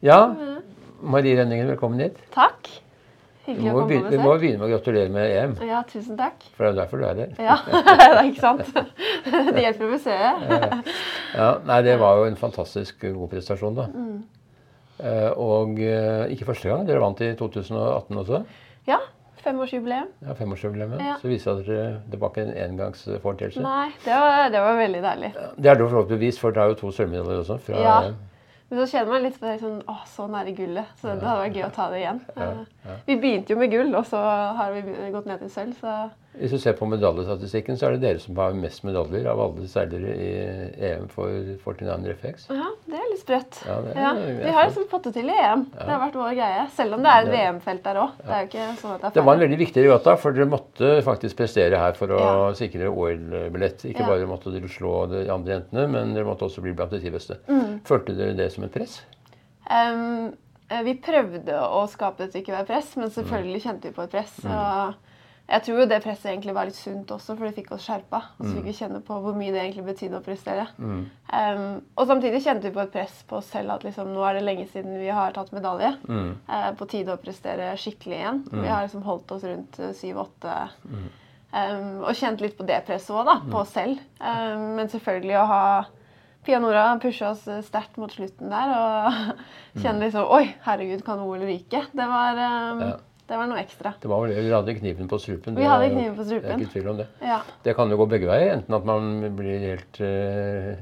Ja, Marie Rønningen, velkommen hit. Takk. Du Hyggelig å må, komme begynne, på du må besøk. begynne med å gratulere med EM. Ja, tusen takk. For det er jo derfor du er der. Ja, det er ikke sant? Det hjelper museet. Ja, nei, det var jo en fantastisk god prestasjon, da. Mm. Eh, Og eh, ikke første gang. Dere vant i 2018 også. Ja, femårsjubileum. Ja, Femårsjubileet. Ja. Så viste det dere det var ikke en engangsforeteelse. Nei, det var, det var veldig deilig. Det er det jo forhåpentligvis, for dere har jo to sølvmedaljer også. Fra, Ja. Men så kjenner man litt på det sånn, å, så nære gullet, så det hadde vært gøy å ta det igjen. Eh, Vi begynte jo med gull, og så har vi be- gått ned til sølv, så Hvis du ser på medaljestatistikken, så er det dere som har mest medaljer av alle seilere i EM for 49 FX. ja, det er litt sprøtt. Ja, det er- Ja, det er vi har flott. liksom fått det til i EM. Det har vært vår greie. Selv om det er et VM-felt der òg. Det er jo ikke sånn at det er Det var en ferdig. veldig viktig regatta, for dere måtte faktisk prestere her for å Ja. sikre OL-billett. Ikke Ja. bare måtte dere slå de andre jentene, men dere måtte også bli blant de ti beste. Mm. Følte dere det som et press? Ehm, eh, vi prøvde å skape et ikke være press, men selvfølgelig kjente vi på et press. Og jeg tror jo det presset egentlig var litt sunt også, for det fikk oss skjerpa. Og så fikk vi kjenne på hvor mye det egentlig betydde å prestere. Ehm, og samtidig kjente vi på et press på oss selv at liksom, nå er det lenge siden vi har tatt medalje. Eh, på tide å prestere skikkelig igjen. Vi har liksom holdt oss rundt syv-åtte. Ehm, og kjent litt på det presset òg, da. På oss selv. Ehm, men selvfølgelig å ha Pia Nora pusha oss eh, sterkt mot slutten der. Og kjenne liksom Oi, herregud, kan OL ryke? Det var, ehm, Ja. det var noe ekstra. Det var vel, Dere hadde kniven på strupen. Vi det hadde er jo- kniven Det på er strupen. ikke tvil om det. Ja. Det kan jo gå begge veier. Enten at man blir helt eh,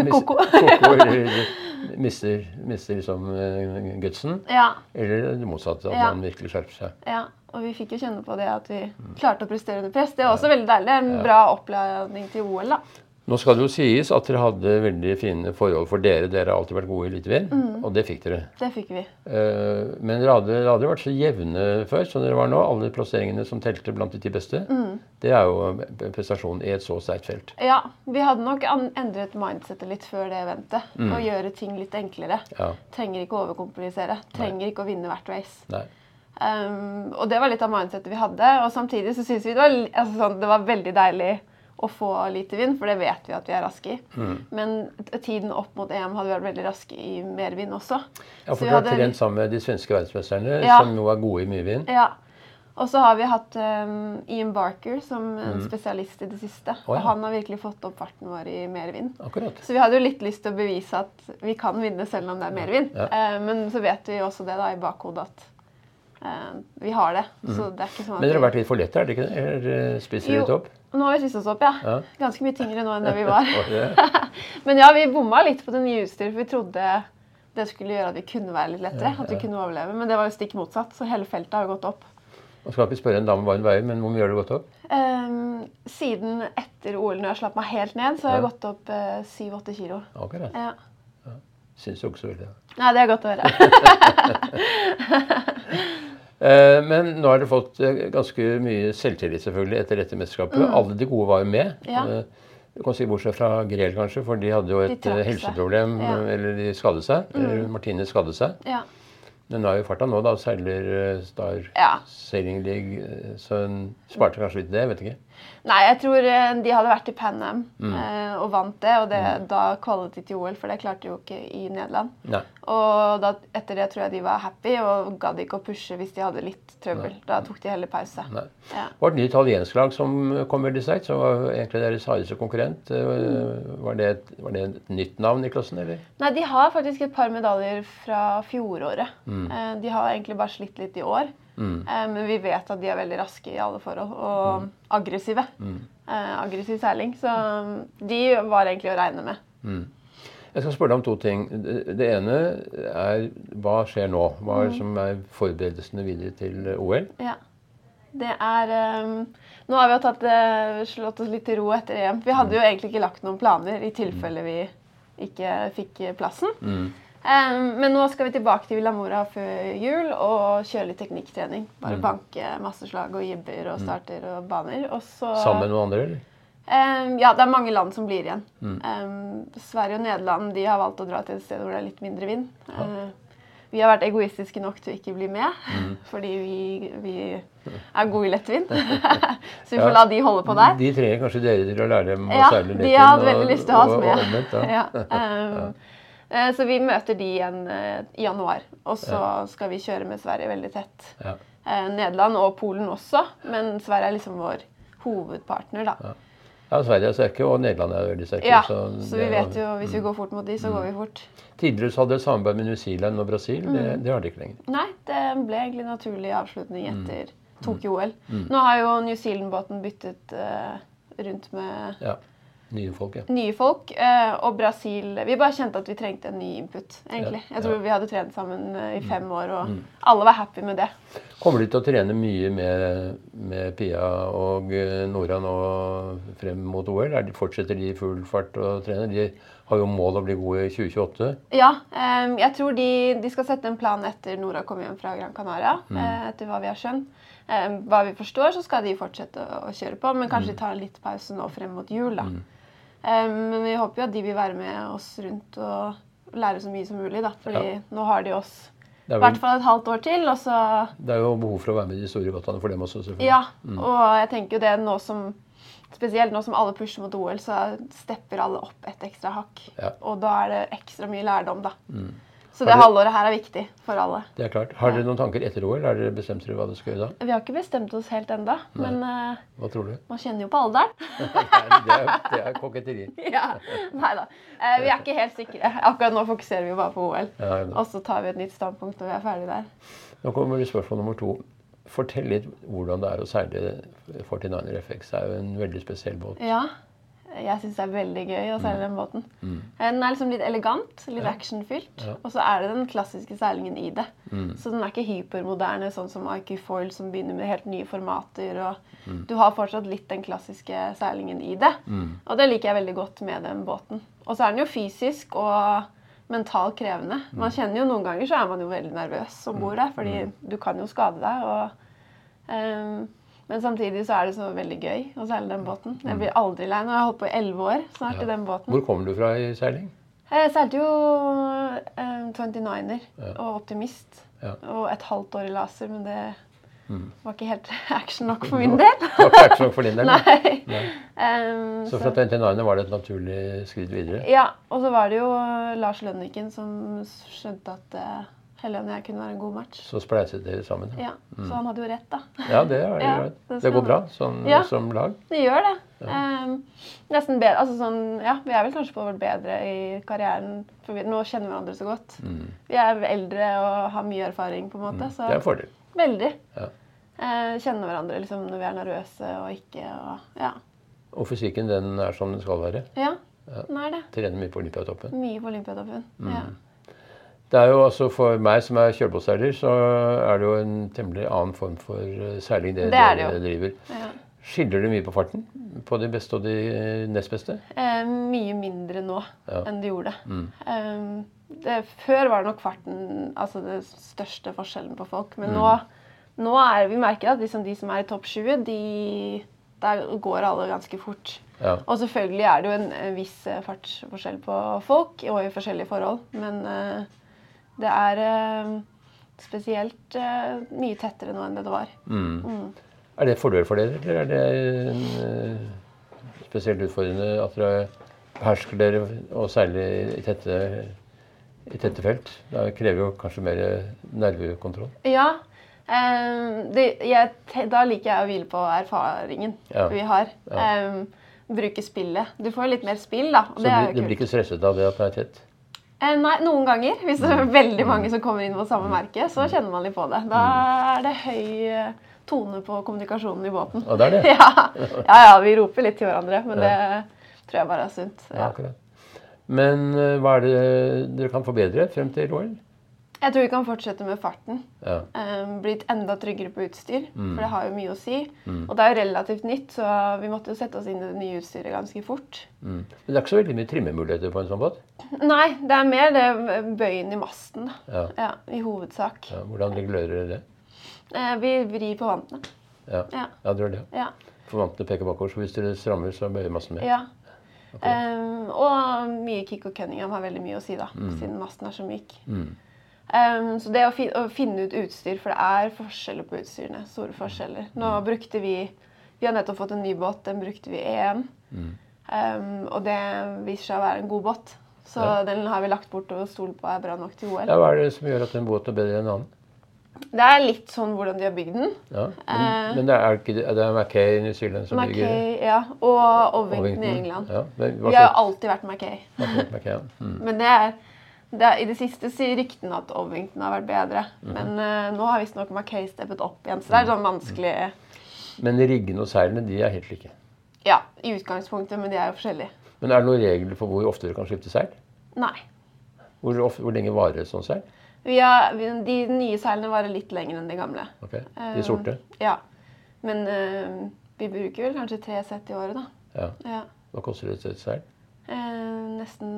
mis- Koko. koko, eller mister, mister liksom eh, gutsen. ja. Eller det motsatte, at Ja. man virkelig skjerper seg. Ja, og vi fikk jo kjenne på det at vi klarte å prestere under press. Det er også veldig deilig. Det er en bra oppladning til OL, da. Nå skal det jo sies at dere hadde veldig fine forhold for dere. Dere har alltid vært gode i eliteVM, Mm. og det fikk dere. Det fikk vi. Eh, Men dere hadde, dere hadde vært så jevne før som dere var nå. Alle plasseringene som telte blant de ti beste. Mm. Det er jo en prestasjon i et så sterkt felt. Ja, vi hadde nok an- endret mindsetet litt før det eventet. Og gjøre ting litt enklere. Ja. Trenger ikke å overkomplisere. Trenger ikke å vinne hvert race. Nei. Um, og det var litt av mindsetet vi hadde. Og samtidig så syns vi det var, li- altså sånn, det var veldig deilig å få lite vind, for det vet vi at vi er raske i. Mm. Men t- tiden opp mot EM hadde vi vært veldig raske i mer vind også. Ja, Så for vi du har hadde- trent sammen med de svenske verdensmesterne, Ja. som jo er gode i mye vind. Ja. Og så har vi hatt um, Ian Barker som en spesialist i det siste. Mm. Å, ja. Og han har virkelig fått opp farten vår i mer vind. Akkurat. Så vi hadde jo litt lyst til å bevise at vi kan vinne selv om det er mer vind. Ja. Eh, men så vet vi også det da i bakhodet at eh, vi har det. Så det er ikke sånn Mm. at Men dere har vi- vært litt for lette, er det ikke det? Eller eh, spiser dere Jo, litt opp? Nå har vi spist oss opp, ja. Ja. Ganske mye tyngre nå enn det vi var. Var det det? Men ja, vi bomma litt på det nye utstyret, for vi trodde det skulle gjøre at vi kunne være litt lettere. At vi kunne overleve. Men det var jo stikk motsatt, så hele feltet har jo gått opp. Man skal ikke spørre en dame hva hun veier, men hvor mye har du gått opp? Ehm, siden etter OL, når jeg slapp meg helt ned, så har jeg gått opp eh, 7-8 kilo. Akkurat. Ja. Syns jo ikke så veldig. Nei, det er godt å høre. Eh, Men nå har dere fått eh, ganske mye selvtillit selvfølgelig etter dette mesterskapet. Alle de gode var jo med. Mm. Ja. Eh, Du kan si Bortsett fra Grel, kanskje, for de hadde jo et trakk eh, seg. helseproblem. Ja. Mm. eh, Eller de skadet seg. Eller Martine skadet seg. Ja. Men nå er jo farta nå, da. Seiler eh, Star Ja. Sailing League. eh, Så hun sparte kanskje litt det, vet ikke. Nei, jeg tror eh, de hadde vært i Pan Am eh, og vant det, og det, da kvalet de til OL, for det klarte de jo ikke i Nederland. Nei. Og da, etter det tror jeg de var happy og gadd ikke å pushe hvis de hadde litt trøbbel. Da tok de heller pause. Nei. Ja. Det var et nytt italiensk lag som kom veldig sterkt, som var egentlig deres hardeste konkurrent. Eh, Var det, et, var det et nytt navn i klassen, eller? Nei, de har faktisk et par medaljer fra fjoråret. Eh, de har egentlig bare slitt litt i år. Eh, men vi vet at de er veldig raske i alle forhold, og aggressive. Eh, aggressiv seiling. Så mm, de var egentlig å regne med. Jeg skal spørre deg om to ting. Det det ene er hva skjer nå? Hva Mm. er, som er forberedelsene videre til OL? Ja. Det er ehm, Nå har vi jo tatt, eh, slått oss litt til ro etter EM. Vi hadde jo egentlig ikke lagt noen planer i tilfelle vi ikke fikk eh, plassen. Ehm, men nå skal vi tilbake til Villa Mora før jul og kjøre litt teknikktrening. Bare banke masse slag og jibber og starter og baner. Og så Sammen med noen andre, eller? Ehm, ja, det er mange land som blir igjen. Mm. Ehm, Sverige og Nederland de har valgt å dra til et sted hvor det er litt mindre vind. Ehm, vi har vært egoistiske nok til å ikke bli med, Mm. fordi vi, vi er gode i lettvind. Så vi får Ja. la de holde på der. De trenger kanskje dere til å lære dem å Ja, seile de hadde og- veldig lyst til å ha oss og- med. Og omvendt, ja. Ja, ehm, Eh, Så vi møter de igjen eh, i januar. Og så skal vi kjøre med Sverige veldig tett. Ja. Eh, Nederland og Polen også, men Sverige er liksom vår hovedpartner, da. Ja, Sverige er sterke, og Nederland er veldig sterke. Ja, så så det vi er- Mm. vet jo hvis vi går fort mot de, så går vi fort. Tidligere så hadde de samarbeid med New Zealand og Brasil. Det, Mm. det har de ikke lenger. Nei, det ble egentlig en naturlig avslutning Mm. etter Tokyo-OL. Nå har jo New Zealand-båten byttet eh, rundt med Ja. Nye folk, ja. nye folk. eh, og Brasil Vi bare kjente at vi trengte en ny input, egentlig. Ja, Mm. Jeg tror vi hadde trent sammen eh, i fem år, og alle var happy med det. Kommer du til å trene mye med, med Pia og eh, Nora nå frem mot OL? Er de, fortsetter de i full fart å trene? De har jo mål å bli gode i 2028. Ja. eh, jeg tror de, de skal sette en plan etter Nora kom hjem fra Gran Canaria. Mm. eh, etter hva vi har skjønt. Eh, hva vi forstår, så skal de fortsette å, å kjøre på, Mm. men kanskje ta en litt pause nå frem mot jul. da. Eh, men vi håper jo at de vil være med oss rundt og lære så mye som mulig. da. Fordi Ja. nå har de oss Det i er, hvert vel, fall et halvt år til. og så... det er jo behov for å være med i de store gataene for dem også, selvfølgelig. Ja, og jeg tenker jo det nå som Spesielt nå som alle pusher mot OL, så stepper alle opp et ekstra hakk. Ja. Mm. Og da er det ekstra mye lærdom, da. Har Så det du- halvåret her er viktig for alle. Det er klart. Har dere noen tanker etter OL? Har dere bestemt dere hva dere skal gjøre da? Vi har ikke bestemt oss helt ennå, men eh, Hva tror du? man kjenner jo på alderen. Det er, det er koketteri. ja. Nei da. Eh, vi er ikke helt sikre. Akkurat nå fokuserer vi bare på OL. Ja, ja. Og så tar vi et nytt standpunkt når vi er ferdig der. Nå kommer spørsmål nummer to. Fortell litt hvordan det er å seile 49er FX. Det er jo en veldig spesiell båt. Mm. Ja. Jeg syns det er veldig gøy å seile den båten. Eh, Den er liksom litt elegant, litt actionfylt. Ja. Mm. Og så er det den klassiske seilingen i det. Så den er ikke hypermoderne, sånn som IQ Foil som begynner med helt nye formater. Og Mm. Du har fortsatt litt den klassiske seilingen i det. Og det liker jeg veldig godt med den båten. Og så er den jo fysisk og mentalt krevende. Mm. Man kjenner jo Noen ganger så er man jo veldig nervøs om bord der, fordi du kan jo skade deg. og... Ehm, men samtidig så er det så veldig gøy å seile Mm. den båten. Jeg blir aldri lei. Nå har jeg holdt på i elleve år snart i den båten. Eh, Hvor kommer du fra i seiling? Jeg seilte jo ehm, 29-er og optimist. Ja. Mm. Og et halvt år i laser, men det var ikke helt action nok for min del. Det var ikke action for din del. da. Nei. Ehm, Så fra 29 var det et naturlig skritt videre. Ja, og så var det jo Lars Lønniken som skjønte at eh, Helene og jeg kunne være en god match. Så spleiset dere sammen. Ja, Mm. Så han hadde jo rett, da. Ja, det er Ja, greit. det Det skal går bra man. som, Ja. som lag. Det gjør det. Ehm, nesten bedre, altså sånn, ja, Vi er vel kanskje på vårt bedre i karrieren. For vi, nå kjenner vi hverandre så godt. Vi er eldre og har mye erfaring, på en måte. Så Det er en fordel. veldig. Mm. Ja. Eh, kjenner hverandre liksom, når vi er nervøse og ikke. Og, ja. Og fysikken den er som den skal være. ja, den er det. Trener mye på Olympiatoppen. Mye på Olympiatoppen. Ja. Det er jo altså For meg som er kjølbåtseiler, så er det jo en temmelig annen form for eh, seiling det, Det er det dere driver. Ja. Skiller du mye på farten? På de beste og de eh, nest beste? Eh, mye mindre nå Ja. Mm. enn det gjorde. Ehm, det, før var nok farten altså den største forskjellen på folk. Mm. Men nå, nå er vi merker at liksom de som er i topp 20, de, der går alle ganske fort. Ja. Og selvfølgelig er det jo en, en viss eh, fartsforskjell på folk og i forskjellige forhold. Men eh, det er eh, spesielt eh, mye tettere nå enn det det var. Er det en fordel for dere, eller er det en, eh, spesielt utfordrende at dere behersker dere og seiler i tette, i tette felt? Det krever jo kanskje mer nervekontroll. Ja. ehm, det, jeg, te- da liker jeg å hvile på erfaringen Ja. vi har. Ehm, bruke spillet. Du får jo litt mer spill, da. Og Så det er blir, jo du blir kult. ikke stresset av det at det er tett? Eh, nei, noen ganger, hvis det Mm. er veldig mange som kommer inn mot samme merke, så kjenner man litt på det. Da Mm. er det høy eh, tone på kommunikasjonen i båten. Og det er det. Ja, ja, ja vi roper litt til hverandre, men det tror jeg bare er sunt. Ja, Ja. akkurat. Men eh, hva er det dere kan forbedre frem til OL? Jeg tror vi kan fortsette med farten. Ja. eh, blitt enda tryggere på utstyr, for det har jo mye å si. Og det er jo relativt nytt, så vi måtte jo sette oss inn i det nye utstyret ganske fort. Mm. Men det er ikke så veldig mye trimmemuligheter på en sånn båt? Nei, det er mer det bøyen i masten, da. Ja. Ja, I hovedsak. Ja, hvordan regulerer dere det? Eh, vi vrir på vantene. Ja, Ja. ja dere gjør det. Ja. Forvantene peker bakover, så hvis dere strammer, så bøyer massen mer. ja. Eh, og mye kick og Cunningham har veldig mye å si, da, Mm. siden masten er så myk. Eh, så det å, fi å finne ut utstyr, for det er forskjeller på utstyrene. Store forskjeller. Nå Mm. brukte vi Vi har nettopp Mm. Ehm, fått en ny båt. Den brukte vi i EM. Eh, og det viser seg å være en god båt. Så den har vi lagt bort og stolt på er bra nok til OL. Ja, Hva er det som gjør at en båt er bedre enn en annen? Det er litt sånn hvordan de har bygd den. Ja. Men, Eh. men det er ikke det det er Mackay i New Zealand som bygger Mackay ja, og Ovington i Ovington. England. Ja, men hva Vi har jo slags alltid vært Mackay. hva slags Mackay? ja. Mm. Men det er, det er, i det siste sier ryktene at Ovington har vært bedre. Men eh, nå har visstnok Mackay steppet opp igjen, så det er sånn vanskelig Men riggene og seilene de er helt like. Ja, i utgangspunktet, men de er jo forskjellige. Men er det noen regler for hvor ofte du kan skifte seil? Nei. Hvor, of- hvor lenge varer et sånt seil? Vi har, vi, de nye seilene varer litt lenger enn de gamle. Ok, De sorte? Eh, ja. Men eh, vi bruker vel kanskje tre sett i året, da. Ja. Ja. Hva koster et et seil? Eh, nesten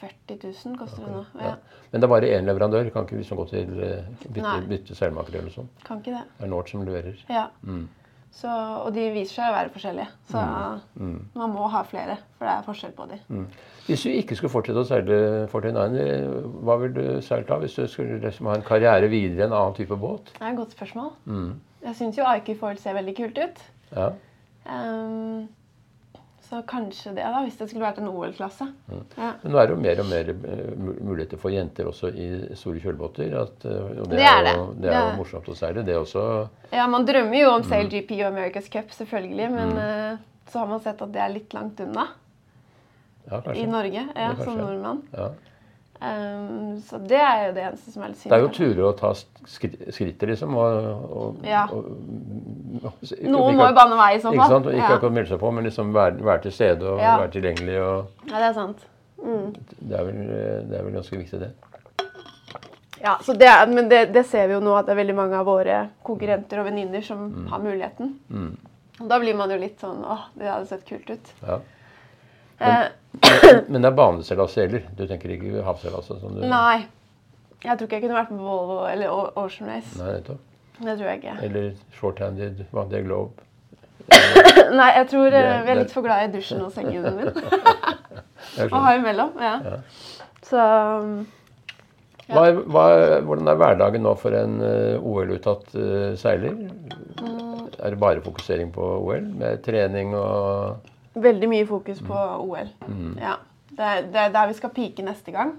40 000 koster det nå. Ja. Ja. Men det er bare én leverandør. Kan ikke vi som går til eh, bytte, Nei. bytte seilmaker eller noe sånt? Kan ikke det. Det er North som leverer. Ja. Så, og de viser seg å være forskjellige, så man må ha flere, for det er forskjell på de. Hvis du ikke skulle fortsette å seile 49, hva ville du seilt da? Hvis du skulle liksom ha en karriere videre i en annen type båt? Det er et godt spørsmål. Mm. Jeg syns jo IQ Foil ser veldig kult ut. Ja. Ehm, så kanskje det, da, hvis det skulle vært en OL-klasse. Ja. Men nå er det jo mer og mer eh, mul- muligheter for jenter også i store kjølbåter. At, eh, og det, Det er er jo, det. det er Det- jo morsomt å seile. Det er også ja, man drømmer jo Mm. om Sail GP og America's Cup, selvfølgelig, men eh, så har man sett at det er litt langt unna Ja, i kanskje. Norge, ja, kanskje, som ja. nordmann. Ja. Ehm, så det er jo det eneste som er litt synd. Det er jo kanskje. ture å ta sk- skri- skrittet, liksom. Og, og, Ja. og, Noen må jo banne vei i så fall. Ikke sant? Og ikke ja. akkurat melde seg på, men liksom være, være til stede og Ja. være tilgjengelig. Og ja, det er sant. det, er vel, eh, det er vel ganske viktig, det. Ja, så det er, men det, det ser vi jo nå at det er veldig mange av våre konkurrenter og venninner som Mm. har muligheten. Og da blir man jo litt sånn åh, det hadde sett kult ut. Ja. Eh, Men det er baneseilas det gjelder? Du tenker ikke havseilas? og sånn, du- nei. Jeg tror ikke jeg kunne vært med Volvo eller O- Ocean Race. Nei, nettopp. Det tror jeg ikke. Eller shorthanded Van der Globe? Nei, jeg tror eh, Det- vi er det- litt for glad i dusjen og sengehunden min. Jeg skjønner. Å ha imellom. Ja. Så um, Hva, er- hva, er- hvordan er hverdagen nå for en eh, OL-uttatt eh, seiler? Mm. Er det bare fokusering på OL med trening og veldig mye fokus på OL. Ja. Det er, det er der vi skal peake neste gang.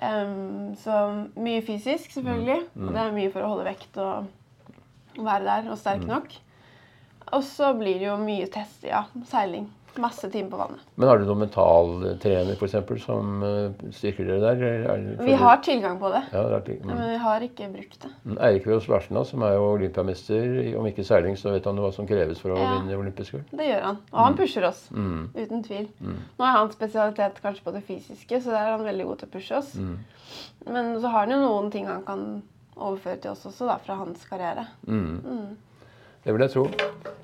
Em, så mye fysisk, selvfølgelig. Og det er mye for å holde vekt og være der og sterk nok. Og så blir det jo mye test, ja. Seiling. Masse timer på vannet. Men har du noen mentaltrener for eksempel, som eh, styrker dere der? eller er det- Vi har tilgang på det, ja, det er til- mm. men vi har ikke brukt det. Eirik Veås Larsen, da, som er jo olympiamester, om ikke seiling, så vet han hva som kreves for å Ja. vinne olympisk gull. Det gjør han. Og han pusher oss. Uten tvil. Nå er hans spesialitet kanskje på det fysiske, så der er han veldig god til å pushe oss. Men så har han jo noen ting han kan overføre til oss også, da, fra hans karriere. Det vil jeg tro.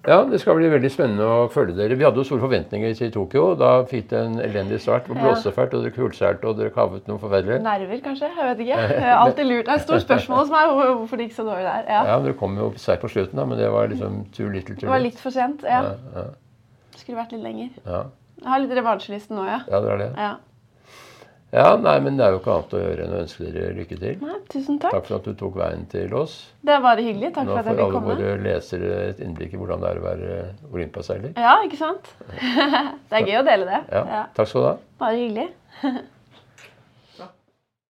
Ja, Det skal bli veldig spennende å følge dere. Vi hadde jo store forventninger til Tokyo. Da fikk det en elendig start. Det var blåsefælt, og dere kulseilte, og dere kavet noe forferdelig. Nerver, kanskje? Jeg vet ikke. Det er alltid lurt. Det er et stort spørsmål hos meg hvor- hvorfor det gikk så dårlig der. Ja. Ja, Dere kom jo seilt på slutten, da, men det var liksom too little Det too var late. litt for sent. Ja. ja. Skulle vært litt lenger. Ja, Jeg har litt revansjelyst nå, ja. ja, det er det. ja. Ja, nei, men det er jo ikke annet å gjøre enn å ønske dere lykke til. Nei, tusen takk. Takk for at du tok veien til oss. Det var hyggelig. Takk Nå for at får jeg fikk alle komme. våre lesere et innblikk i hvordan det er å være olympiaseiler. Ja, ikke sant? Det er gøy å dele det. Ja, Ja. takk skal du ha. Bare hyggelig.